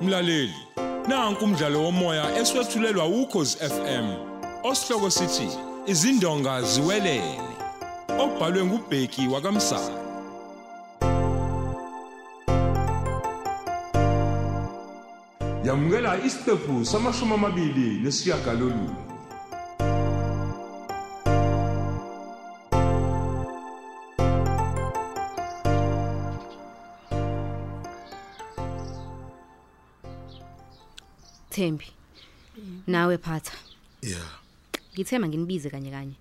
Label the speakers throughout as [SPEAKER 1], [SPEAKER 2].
[SPEAKER 1] mlaleli nanku umdlalo womoya eswetshulelwa ukhozi FM osihloko sithi izindonga ziwelele obhalwe ngubheki wakamsa yamukela isiqephu samashumi amabili nesiyagalolunye
[SPEAKER 2] Thembi. Nawe phatha.
[SPEAKER 3] Yeah.
[SPEAKER 2] Ngithema nginibize kanye kanye.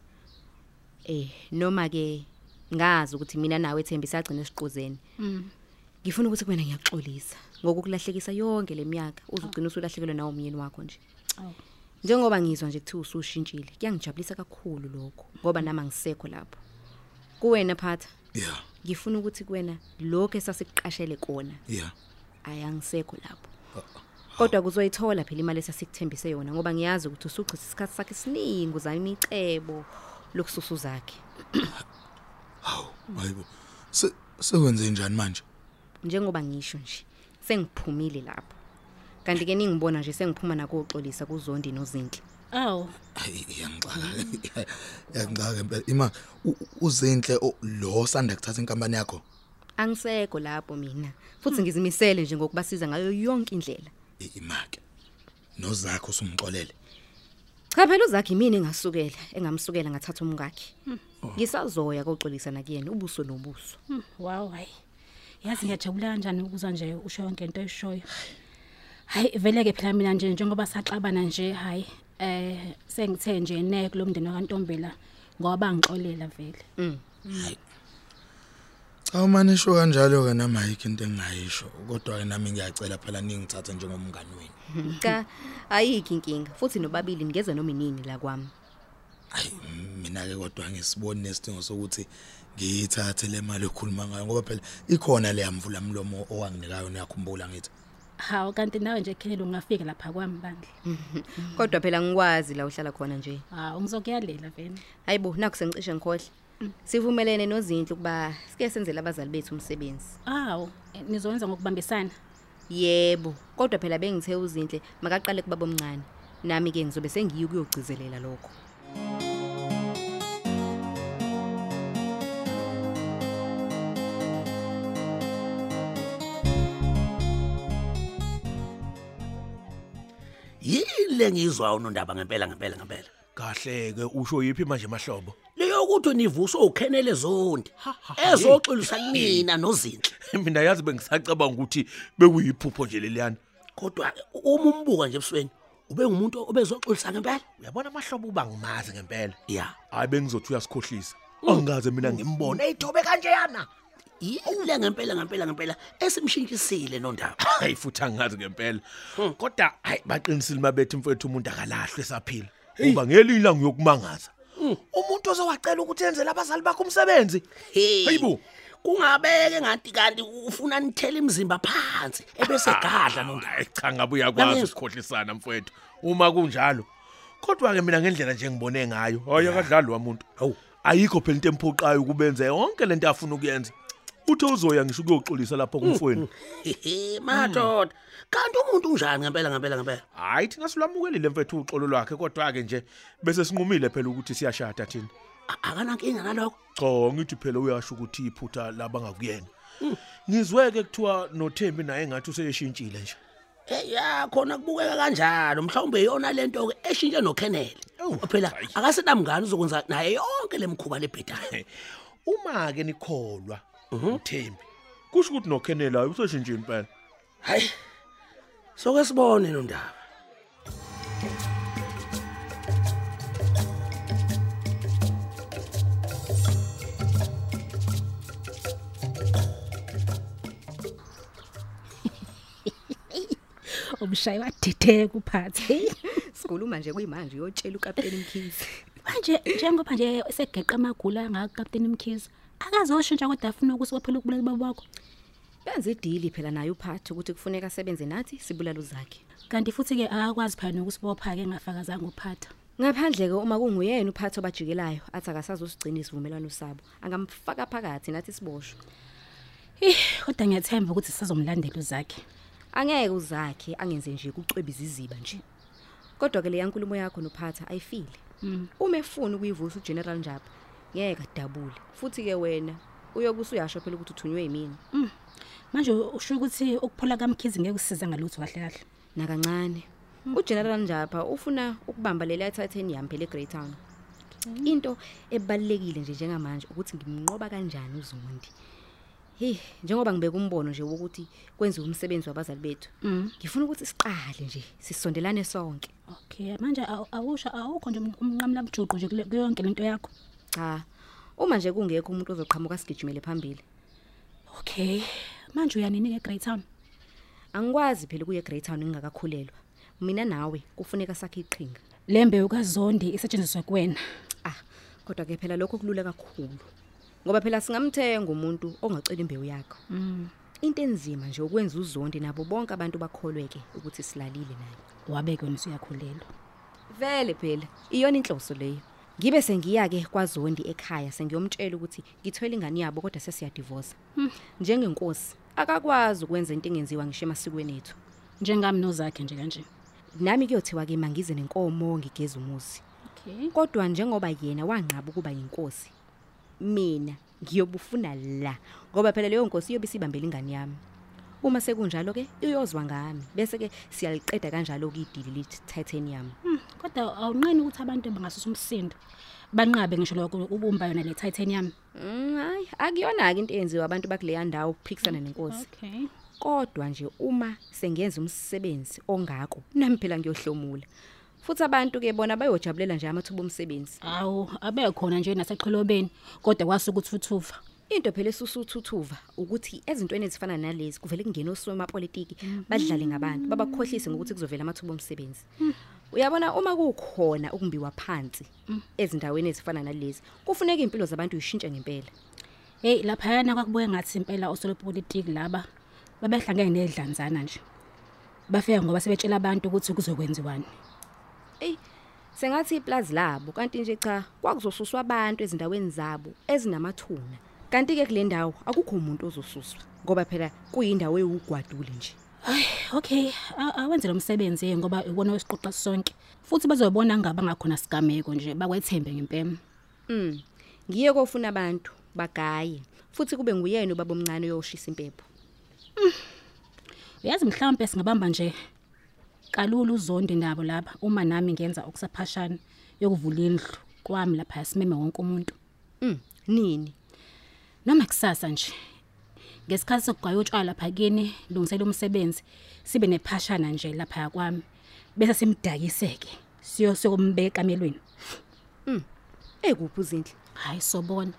[SPEAKER 2] Eh noma ke ngazi ukuthi mina nawe Thembi sagcina esiquzeni. Mhm. Ngifuna ukuthi kuwena ngiyaxolisa ngokukulahlekisa yonke leminyaka uzugcina usulahlekelwe nawo umyeni wakho nje. Njengoba ngizwa nje kuthi usushintshile, kuyangijabulisa kakhulu lokho ngoba nami angisekho lapho. Kuwena phatha.
[SPEAKER 3] Yeah.
[SPEAKER 2] Ngifuna ukuthi kuwena lokho esasikuqashele kona
[SPEAKER 3] Yeah.
[SPEAKER 2] ayangisekho lapho kodwa kuzoyithola phela imali esasikuthembise yona ngoba ngiyazi ukuthi usuchitha isikhathi sakhe esiningi uzama icebo lokususu zakhe
[SPEAKER 3] Hawu, hayibo. Se sekwenze njani manje?
[SPEAKER 2] njengoba ngisho nje sengiphumile lapho kanti ke ningibona nje sengiphuma nakoxolisa kuzondi nozinhle
[SPEAKER 4] Aw,
[SPEAKER 3] Hayi, iyangixaka. Mm. Iyangixaka impela. Ima u- u- uzinhle o- lo sanda kuthatha inkampani yakho.
[SPEAKER 2] angisekho lapho mina futhi ngizimisele nje ngokubasiza ngayo yonke indlela
[SPEAKER 3] I- Imake. Nozakho usungixolele.
[SPEAKER 2] cha phela uzakhe yimina engasukela engamsukela ngathatha umkakhe ngisazoya koxolisa nakuyena ubuso nobuso
[SPEAKER 4] hmm, wow hayi. Yazi ngiyajabula kanjani ukuzwa nje usho yonke into oyishoyo. Hayi vele ke phela mina nje njengoba saxabana nje hayi eh sengithe nje ne kulomndeni wakantombela ngoba bangixolela vele.
[SPEAKER 3] Mm. Cha manje sho kanjalo ke nami ayikho into engayisho kodwa ke nami ngiyacela phela ningithathe njengomngani wenu.
[SPEAKER 2] cha ayikho inkinga futhi nobabili ningeza noma inini la kwami
[SPEAKER 3] Hayi mina ke kodwa ngisiboni nesidingo sokuthi ngiyithathe le mali okhuluma ngayo ngoba phela ikhona le yamvula mlomo owanginika yona yakhumbula ngithi.
[SPEAKER 4] Hawu kanti nawe nje khelelo ungafika lapha kwami bandla.
[SPEAKER 2] kodwa phela ngikwazi la uhlala khona nje
[SPEAKER 4] Hawu ngizokuyalela vele.
[SPEAKER 2] hayibo naku sengicishe ngikhohle sivumelene nozinhle ukuba sike senzele abazali bethu umsebenzi
[SPEAKER 4] Aw, nizowenza eh, ngokubambisana.
[SPEAKER 2] yebo kodwa phela bengithe uzinhle makaqale kubaba omncane nami ke ngizobe sengiyi kuyogcizelela lokho
[SPEAKER 5] yile ngizwa unondaba ngempela ngempela ngempela
[SPEAKER 6] kahle ke usho yiphi manje mahlobo
[SPEAKER 5] leyokuthi nivuswe ukhenele zondi ezoxolisa kumina nozinhle
[SPEAKER 6] mina yazi bengisacabanga ukuthi bekuyiphupho nje leliyana
[SPEAKER 5] kodwa uma umbuka nje ebusweni ube ngumuntu obezoxolisa ngempela
[SPEAKER 6] uyabona mahlobo uba ngimazi ngempela
[SPEAKER 5] ya
[SPEAKER 6] hayi bengizothi uyasikhohlisa angikaze mina ngimbone
[SPEAKER 5] eyithobe kanje yana yile ngempela ngempela ngempela esimshintshisile nondaba
[SPEAKER 6] hayi futhi angazi ngempela kodwa hayi baqinisile mabethi mfowethu umuntu akalahlwe esaphila uba ngelinye ilanga uyokumangaza umuntu ozowacela ukuthi enzele abazali bakho umsebenzi
[SPEAKER 5] Hey.
[SPEAKER 6] hayibo
[SPEAKER 5] kungabeke ngathi kanti ufuna nithele imizimba phansi ebese gadla nondaba
[SPEAKER 6] Hayi, cha ngabe uyakwazi
[SPEAKER 5] Yangezwa.
[SPEAKER 6] ukusikhohlisana mfowethu uma kunjalo kodwa-ke mina ngendlela nje ngibone ngayo hayi akadlali wamuntu hawu ayikho phela into emphoqayo ukubenza yonke le nto afuna ukuyenza uthe uzoya ngisho ukuyoxolisa lapho kumfweni
[SPEAKER 5] mm. hehe madoda kanti umuntu unjani ngempela ngempela ngempela
[SPEAKER 6] hhayi thina silwamukelile mfethu uxolo lwakhe kodwa-ke nje bese sinqumile phela ukuthi siyashada thina
[SPEAKER 5] A- akanankinga nalokho
[SPEAKER 6] cha ngithi phela uyasho ukuthi iphutha labangakuyena ngizweke kuthiwa nothembi naye ngathi useyeshintshile nje
[SPEAKER 5] Eh ya khona kubukeka kanjalo mhlawumbe yona lento ke eshintshe noKenneth. Phela akasenamngani uzokwenza naye yonke lemkhuba lebhedayo.
[SPEAKER 6] uma-ke nikholwa uthembi kusho ukuthi nokhenela hayi useshintshile impela
[SPEAKER 5] Hayi. Soke sibone nondaba.
[SPEAKER 4] Umshayi wadideka uphathe.
[SPEAKER 2] sikhuluma nje kuyimanje uyotshela ukapteni mkhizi
[SPEAKER 4] manje njengoba nje segeqa amagula ngakapteni mkhize akazoshintsha kodwa afuna ukuthi waphela ukubulala baba wakho
[SPEAKER 2] benza idili phela naye uphathi ukuthi kufuneka asebenze nathi sibulale uzakhe
[SPEAKER 4] kanti futhi-ke akakwazi phela nokusibopha-ke engafakazanga uphatha
[SPEAKER 2] ngaphandle-ke uma kunguyena uphathi obajikelayo athi akasazosigcina isivumelwano sabo angamfaka phakathi nathi siboshwe
[SPEAKER 4] Eh, ih kodwa ngiyathemba ukuthi sisazomlandela uzakhe
[SPEAKER 2] angeke uzakhe angenze nje kucwebiza iziba nje kodwa ke leya nkulumo yakho nophatha ayifile uma efuna ukuyivusa ugeneral njapa ngeke adabule futhi ke wena uyokusa uyasho phela ukuthi uthunywe yimini
[SPEAKER 4] manje usho ukuthi ukuphola kamkhizi ngeke kusiza ngalutho kahle kahle
[SPEAKER 2] nakancane ugeneral njapa ufuna ukubamba lela titanium phela egreytown into ebalekile nje njengamanje ukuthi ngimnqoba kanjani uzondi hi njengoba ngibeka umbono nje wokuthi kwenziwe umsebenzi wabazali bethu ngifuna ukuthi siqale nje sisondelane sonke
[SPEAKER 4] okay manje awu- awusho awukho nje umnqamla mjuqu nje kule- kuyo yonke lento yakho
[SPEAKER 2] cha uma nje kungekho umuntu ozoqhamuka sigijimele phambili
[SPEAKER 4] okay manje uyanini-ke egrey town
[SPEAKER 2] angikwazi phela kuye egreytown ngingakakhulelwa mina nawe kufuneka sakhe iqhinga
[SPEAKER 4] le mbewu kazondi isetshenziswe kuwena
[SPEAKER 2] ah kodwa ke phela lokho kulula kakhulu ngoba phela singamthenga umuntu ongacela imbewu yakho into enzima nje ukwenza uzondi nabo bonke abantu bakholweke ukuthi silalile naye
[SPEAKER 4] wabe kuyona usuyakhulelwa
[SPEAKER 2] vele phela iyona inhloso leyo ngibe sengiya-ke kwazondi ekhaya sengiyomtshela ukuthi ngithwele ingane yabo kodwa sesiyadivosa njengenkosi akakwazi ukwenza into engenziwa ngisho emasikweni ethu
[SPEAKER 4] njengami nozakhe nje kanje
[SPEAKER 2] nami kuyothiwa-ke mangize nenkomo ngigeza umuzi
[SPEAKER 4] okay
[SPEAKER 2] kodwa njengoba yena wanqaba ukuba yinkosi mina ngiyobufuna la ngoba phela leyo nkosi iyobe isibambela ingane yami uma sekunjalo-ke iyozwa ngami bese-ke siyaliqeda kanjalo-ke idili le-titanium
[SPEAKER 4] Hmm, kodwa awunqeni ukuthi abantu bangasusa umsindo banqabe ngisho lokho ubumba yona le titanium
[SPEAKER 2] Mm, hayi akuyona-ke into eyenziwa abantu bakuleya ndawo ukuphikisana nenkosi
[SPEAKER 4] okay
[SPEAKER 2] kodwa nje uma sengenza umsebenzi ongako nami phela ngiyohlomula futhi abantu-ke bona bayojabulela nje amathuba omsebenzi
[SPEAKER 4] awu abekhona nje naseqhelobeni kodwa kwasuka uthuthuva
[SPEAKER 2] into phela esusuthuthuva ukuthi ezintweni ezifana nalezi kuvele kungena osomapolitiki badlale ngabantu babakhohlise ngokuthi kuzovela amathuba omsebenzi uyabona uma kukhona ukumbiwa phansi ezindaweni ezifana nalezi kufuneka iy'mpilo zabantu yishintshe ngempela
[SPEAKER 4] heyi laphayana kwakubuye ngathi impela osolopolitiki laba babehlangene nedlanzana nje bafika ngoba sebetshela abantu ukuthi kuzokwenziwani
[SPEAKER 2] eyi sengathi iplazi labo kanti nje cha kwakuzosuswa abantu ezindaweni zabo ezinamathuna kanti-ke kule ndawo akukho umuntu ozosuswa ngoba phela kuyindawo ewugwadule nje
[SPEAKER 4] hayi okay a- awenze lo msebenzi ke ngoba iwona wesiqoqa sonke futhi bazobona ngaba ngakhona sigameko nje bakwethembe ngempema
[SPEAKER 2] um ngiye kofuna abantu bagaye futhi kube nguyena ubaba omncane oyoshisa impepho
[SPEAKER 4] uyazi mhlawumbe singabamba nje kalula uzondi nabo lapha uma nami ngenza okusaphashana yokuvula indlu kwami lapha simeme wonke umuntu
[SPEAKER 2] um nini
[SPEAKER 4] noma kusasa nje ngesikhathi sokugaya utshwala lapha kini lungisele umsebenzi sibe nephashana nje lapha kwami bese simdakiseke siyo sokumbeka emelweni
[SPEAKER 2] ekuphi uzinhle
[SPEAKER 4] hayi sobona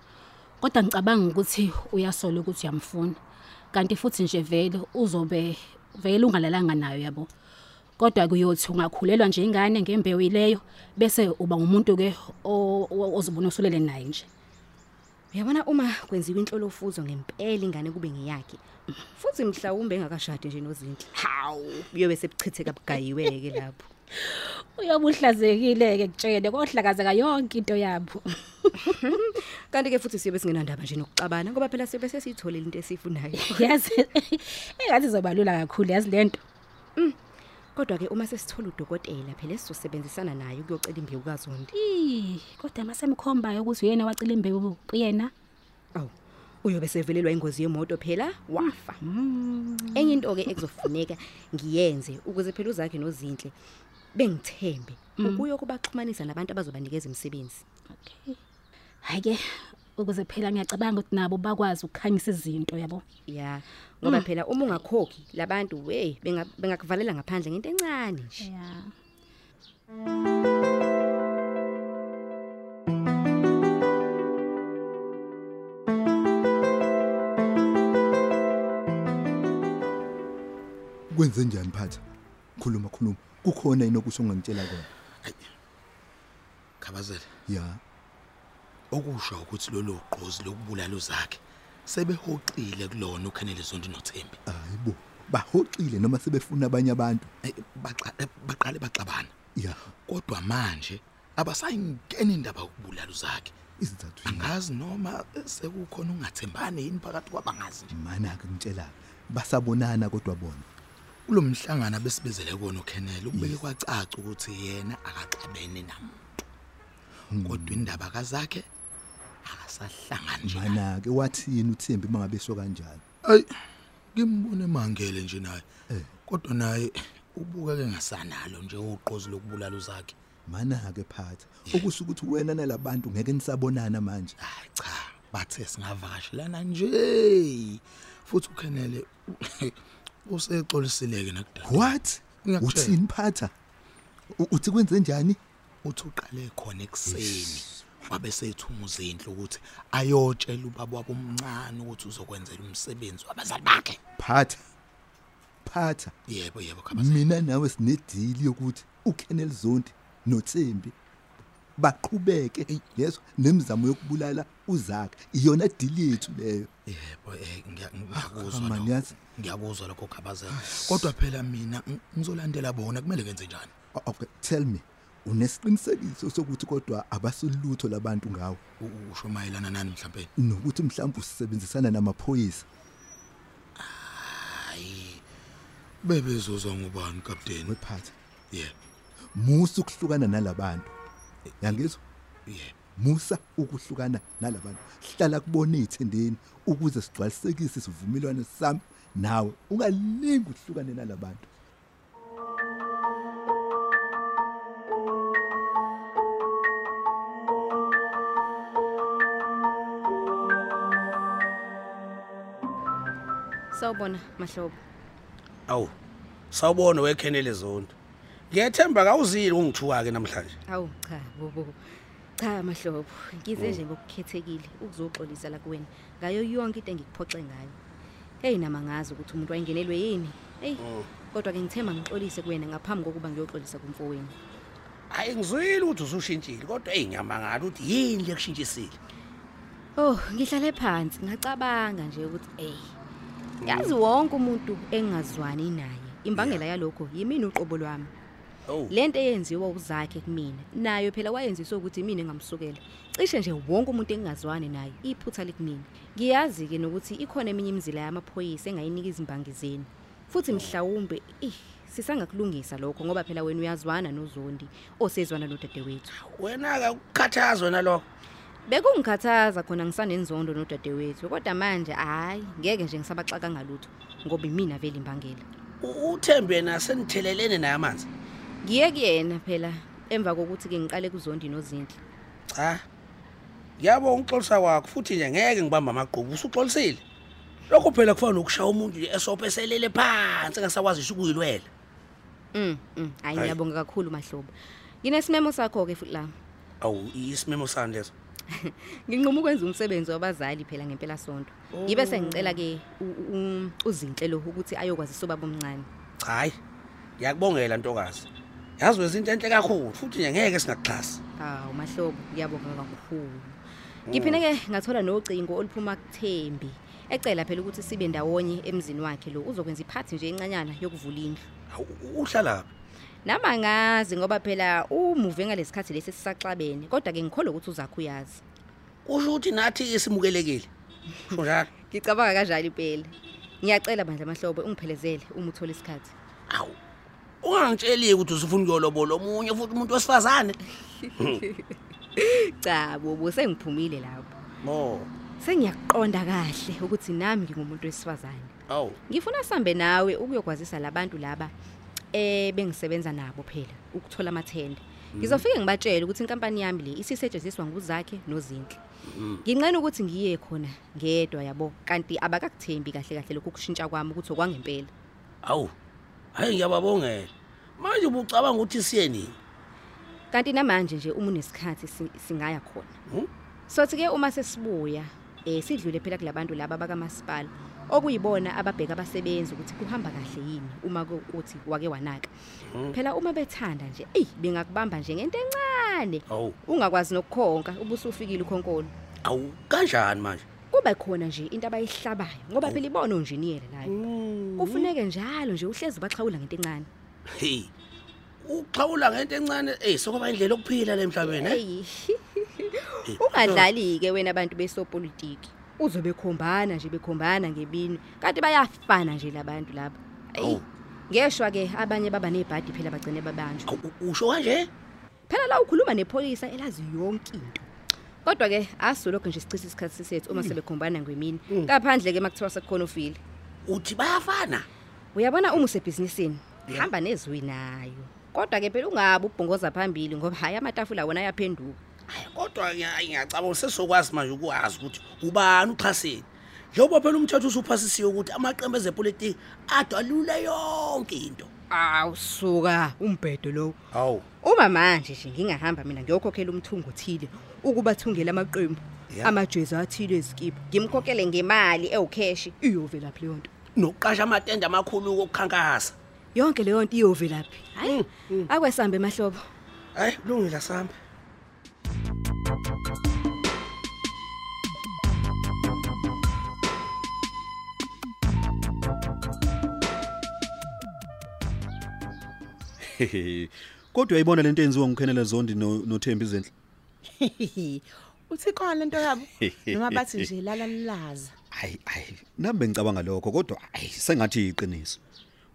[SPEAKER 4] kodwa ngicabanga ukuthi uyasola ukuthi uyamfuna kanti futhi nje vele uzobe vele ungalalanga nayo yabo kodwa kuyothi ungakhulelwa nje ingane ngembewu ileyo bese uba umuntu-ke o- o- ozobona usulele naye nje
[SPEAKER 2] uyabona uma kwenziwe inhlolofuzo ngempela ingane kube ngeyakhe futhi mhlawumbe engakashadi nje nozinhle hawu uyobe sebuchitheka bugayiwe-ke lapho
[SPEAKER 4] uyobe uhlazekile-ke kutshele kohlakazeka yonke into yabo
[SPEAKER 2] kanti-ke futhi siyobe singenandaba nje nokuxabana ngoba phela siyobe sesiyitholele into esiyifunayo
[SPEAKER 4] yazi engathi izoba lula kakhulu yazi le nto
[SPEAKER 2] kodwa-ke uma sesithola udokotela phela esizosebenzisana naye ukuyocela imbewu kazondi
[SPEAKER 4] Ih, kodwa masemkhombayo ukuthi uyena wacela imbewu kuyena
[SPEAKER 2] awu uyobe sevelelwa ingozi yemoto phela wafa enye into-ke ekuzofuneka ngiyenze ukuze phela uzakhe nozinhle bengithembe ukuyokubaxhumanisa nabantu abazobanikeza imisebenzi
[SPEAKER 4] okay hayi-ke ukuze phela ngiyacabanga ukuthi nabo bakwazi ukukhanyisa izinto yabo
[SPEAKER 2] ya ngoba phela uma ungakhokhi labantu weyi benga- bengakuvalela ngaphandle ngento encane nje
[SPEAKER 4] ya
[SPEAKER 7] kwenze njani phatha khuluma khuluma kukhona yini okusho ongangitshela kona
[SPEAKER 3] Khabazela.
[SPEAKER 7] ya
[SPEAKER 3] Okusho ukuthi lolu gqozi lokubulala uzakhe sebehoxile kulona uKhenele Zondi noThembi.
[SPEAKER 7] hayi bo bahoxile noma sebefuna abanye abantu
[SPEAKER 3] Eh, baqa- eh, Baqale baxabana.
[SPEAKER 7] ya
[SPEAKER 3] Kodwa manje abasayingeni indaba yokubulala uzakhe.
[SPEAKER 7] izizathu yini?
[SPEAKER 3] Angazi noma eh, sekukhona ungathembani yini phakathi kwabangazi nje.
[SPEAKER 7] mana-ke ngitshela-ke basabonana kodwa bona
[SPEAKER 3] kulomhlangano abesibizele kona uKenneth ukubeke kwacaca ukuthi yena akaxabene namuntu kodwa indaba kazakhe akasahlangani nje naye.
[SPEAKER 7] mana-ke wathini uthembi uma ngabe so kanjalo
[SPEAKER 3] ayi ngimbone emangele nje naye kodwa naye ubukeke ngasanalo nje uqozi lokubulala uzakhe
[SPEAKER 7] mana-ke phatha okusho ukuthi wena nalabantu ngeke nisabonana manje
[SPEAKER 3] hayi cha bathe singavakashelana nje futhi uKenneth usexolisileke nakudala
[SPEAKER 7] what
[SPEAKER 3] Ngiyakutshela.
[SPEAKER 7] uthini phatha U- uthi kwenze njani
[SPEAKER 3] uthi uqale khona ekuseni wabe sethuma uzinhle ukuthi ayotshela ubaba wabo omncane ukuthi uzokwenzela umsebenzi wabazali bakhe
[SPEAKER 7] phatha phatha
[SPEAKER 3] yebo yebo khabaza
[SPEAKER 7] mina nawe sinedili yokuthi uKenneth Zondi noThembi baqhubeke yeso nemizamo yokubulala uzakhe iyona deal yethu leyo
[SPEAKER 3] yebo eh, ngiya- ngiyakuzwa
[SPEAKER 7] man,
[SPEAKER 3] lokho.
[SPEAKER 7] yazi.
[SPEAKER 3] ngiyakuzwa lokho khabazela kodwa phela mina ng- ngizolandela bona kumele ngenze njani
[SPEAKER 7] O- okay tell me unesiqinisekiso sokuthi kodwa abasolutho labantu ngawe
[SPEAKER 3] U- u- usho mayelana nani mhlawumbe
[SPEAKER 7] nokuthi mhlawumbe usebenzisana namaphoyisa
[SPEAKER 3] hayi bebezuzwa ngubani kapteni
[SPEAKER 7] wephatha
[SPEAKER 3] yebo
[SPEAKER 7] musa ukuhlukana nalabantu yangizwa
[SPEAKER 3] yebo
[SPEAKER 7] musa ukuhlukana nalabantu hlala kubona ezithendeni ukuze sigcwalisekise isivumelwano sami nawe ungalingi uhlukane nalabantu
[SPEAKER 2] sawubona mahlobo
[SPEAKER 5] awu sawubona wekhenele zonto ngiyethemba kawuzile ungithuka-ke namhlanje
[SPEAKER 2] awu cha bobo cha mahlobo ngize nje ngokukhethekile ukuzoxolisa la kuwena ngayo yonke into engikuphoxe ngayo heyi nama ngazi ukuthi umuntu wayengenelwe yini eyi kodwa-ke ngithemba ngixolise kuwena ngaphambi kokuba ngiyoxolisa kumfowenu
[SPEAKER 5] hhayi ngizwile ukuthi usushintshile kodwa eyi ngiyamangala ukuthi yini lekushintshisile
[SPEAKER 2] Oh, ngihlale phansi ngacabanga nje ukuthi eh yazi wonke umuntu engazwani naye. Imbangela yalokho yimini uqobo lwami.
[SPEAKER 5] owu
[SPEAKER 2] Lento eyenziwa uzakhe kumina nayo phela wayenziswa ukuthi mina ngamsukela. Cishe nje wonke umuntu engazwani naye iphutha likumina. Ngiyazi ke nokuthi ikhona eminye imizila yamaphoyisa engayinika izimbangi zenu. Futhi mhlawumbe ih sisangakulungisa lokho ngoba phela wena uyazwana nozondi osezwana nodadewethu.
[SPEAKER 5] wena-ke ukukhathazwe nalokho
[SPEAKER 2] Bekungikhathaza khona ngisanenzondo nodadewethu kodwa manje hayi ngeke nje ngisabaxaka ngalutho ngoba imina vele imbangela.
[SPEAKER 5] U- uthembe yena senithelelene naye amanzi
[SPEAKER 2] Ngiye kuyena phela emva kokuthi ke ngiqale kuzondi nozinhle.
[SPEAKER 5] cha yabo ngixolisa kwakho futhi nje ngeke ngibambe amagqubu usuxolisile lokho phela kufana nokushaya umuntu nje esopheselele phansi engasakwazisho ukuyilwela
[SPEAKER 2] Mm, mm, hayi ngiyabonga kakhulu mahlobo. Nginesimemo sakho ke futhi la.
[SPEAKER 5] awu isimemo sani leso
[SPEAKER 2] Nginquma ukwenza umsebenzi wabazali phela ngempela sonto. Ngibe sengicela ke u- u- uzinhle lo ukuthi ayokwazisa ubaba omncane.
[SPEAKER 5] cha hhayi ngiyakubongela ntokazi yazi wezinto enhle kakhulu futhi nje ngeke singakuxhasi
[SPEAKER 2] Hawu mahlobo ngiyabonga kakhulu. Ngiphinde ke ngathola nocingo oluphuma kuThembi ecela phela ukuthi sibe ndawonye emzini wakhe lo uzokwenza iphathi nje encanyana yokuvula indlu.
[SPEAKER 5] Awu, u- uhlala phi
[SPEAKER 2] Nama ngazi ngoba phela umuve ngalesikhathi lesi sisaxabene kodwa ke ngikholwa ukuthi uzakho uyazi.
[SPEAKER 5] kusho ukuthi nathi simukelekile sho njalo
[SPEAKER 2] Ngicabanga kanjalo impela. Ngiyacela bandla mahlobo ungiphelezele uma uthola isikhathi.
[SPEAKER 5] awu ungangitsheli-ke ukuthi usufuna ukuyolobola omunye futhi umuntu wesifazane
[SPEAKER 2] Cha bobo sengiphumile lapho.
[SPEAKER 5] o
[SPEAKER 2] Sengiyakuqonda kahle ukuthi nami ngingumuntu wesifazane.
[SPEAKER 5] awu
[SPEAKER 2] Ngifuna sambe nawe ukuyokwazisa labantu laba eh bengisebenza nabo phela ukuthola amathenda. Ngizofike ngibatshele ukuthi inkampani yami le isisetshenziswa nguzakhe nozinhle. Nginqena ukuthi ngiye khona ngedwa yabo kanti abakakuthembi kahle kahle lokhu kushintsha kwami ukuthi okwangempela.
[SPEAKER 5] awu hhayi ngiyababongela manje ubucabanga ukuthi siye nini
[SPEAKER 2] Kanti namanje nje uma unesikhathi si- singaya khona.
[SPEAKER 5] Mhm.
[SPEAKER 2] Sothi ke uma sesibuya eh sidlule phela kulabantu laba bakaMasipala okuyibona ababheka abasebenzi ukuthi kuhamba kahle yini uma kuthi wake wanaka. Phela uma bethanda nje eyi bengakubamba nje ngento encane
[SPEAKER 5] awu
[SPEAKER 2] ungakwazi nokukhonka ubusufikile ukhonkolo.
[SPEAKER 5] awu kanjani manje
[SPEAKER 2] Kuba khona nje into abayihlabayo ngoba phela ibona unjiniyela naye. Kufuneke njalo nje uhlezi baxhawula ngento encane.
[SPEAKER 5] hey uxhawula ngento encane eyi sokuba indlela yokuphila le mhlabeni eh?
[SPEAKER 2] Hey. Ungadlali ke wena abantu besopolitiki. Uzobe khombana nje bekhombana ngebini. Kanti bayafana nje labantu laba. Hey.
[SPEAKER 5] Awu,
[SPEAKER 2] ngeshwa ke abanye baba nebhadi phela bagcine babanjwa
[SPEAKER 5] Awu, u- usho kanje
[SPEAKER 2] phela la ukhuluma nepholisa elazi yonke into kodwa ke asulokho nje sichitha isikhathi sethu uma sebekhombana ngwemini kaphandle ke makuthiwa sekukhona ufile
[SPEAKER 5] uthi bayafana
[SPEAKER 2] uyabona uma usebhizinisini hamba nezwi nayo kodwa ke phela ungabi ubhongoza phambili ngoba hhayi amatafula wona ayaphenduka
[SPEAKER 5] Hhayi, kodwa ngiya- ngiyacabanga sesokwazi manje ukwazi ukuthi ubani uxhaseni njengoba phela umthetho usuphasisiwe ukuthi amaqembu ezepolitiki adalule yonke into
[SPEAKER 2] awu suka umbhedo lowo
[SPEAKER 5] hawu
[SPEAKER 2] uma manje nje ngingahamba mina ngiyokhokhela umthungo othile ukuba athungele amaqembu amajezi athile ezikibha ngimkhokhele ngemali ewukheshi iyovelaphi leyo nto
[SPEAKER 5] nokuqasha amatende amakhulu okukhankasa
[SPEAKER 2] yonke leyo nto iyovelaphi hayi akwesambe mahlobo
[SPEAKER 5] hayi kulungile asambe
[SPEAKER 8] Hehe. Kodwa uyayibona lento enziwa ngukhenele Zondi no- noThembi izenhle.
[SPEAKER 9] uthi khona lento yabo noma bathi nje lala lilaza
[SPEAKER 8] Hayi hayi, nami bengicabanga lokho kodwa hayi sengathi iqiniso.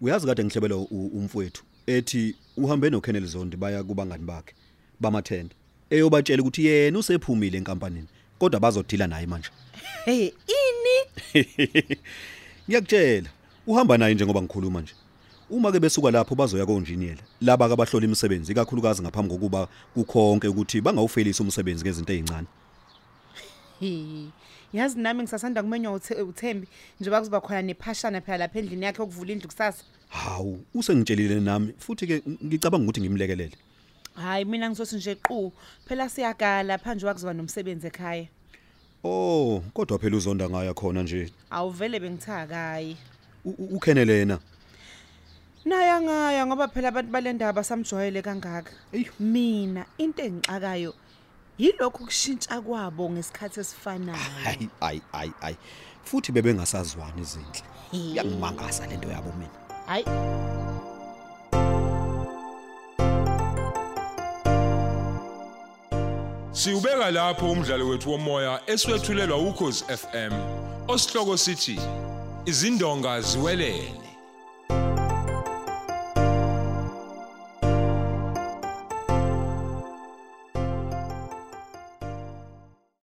[SPEAKER 8] Uyazi kade ngihlebela u- umfowethu ethi uhambe noKhenele Zondi baya kubangani bakhe bamathenda. Eyobatshela ukuthi yena usephumile enkampanini kodwa bazodila naye manje.
[SPEAKER 9] hey ini
[SPEAKER 8] Ngiyakutshela, uhamba naye njengoba ngikhuluma nje. Uma ke besuka lapho bazoya konjiniyela laba ke abahlola imisebenzi ikakhulukazi ngaphambi kokuba kukhonke ukuthi bangawufelisa umsebenzi ngezinto ezincane.
[SPEAKER 9] Hi. yazi nami ngisasanda kumenywa uthe- uthembi njengoba kuzoba khona nephashana phela lapha endlini yakhe yokuvula indlu kusasa
[SPEAKER 8] Hawu, usengitshelile nami futhi ke ngicabanga ukuthi ngimlekelele.
[SPEAKER 9] hhayi mina ngizothi nje qu phela siyagala phanje wakuzoba nomsebenzi ekhaya
[SPEAKER 8] Oh, kodwa phela uzonda ngaya khona nje.
[SPEAKER 9] awuvele bengithakayi
[SPEAKER 8] U- u- Ukhenele yena.
[SPEAKER 9] naye angaya ngoba phela abantu bale ndaba samjwayele kangaka mina into engixakayo yilokhu kushintsha kwabo ngesikhathi esifanayo
[SPEAKER 8] Hayi, ayi, ayi, ayi. Futhi bebengasazwani izinhle. Yangimangasa lento yabo mina.
[SPEAKER 9] hhayi
[SPEAKER 1] Siubeka lapho umdlalo wethu womoya eswetshulelwa ukhozi FM. Osihloko sithi izindonga ziwelele.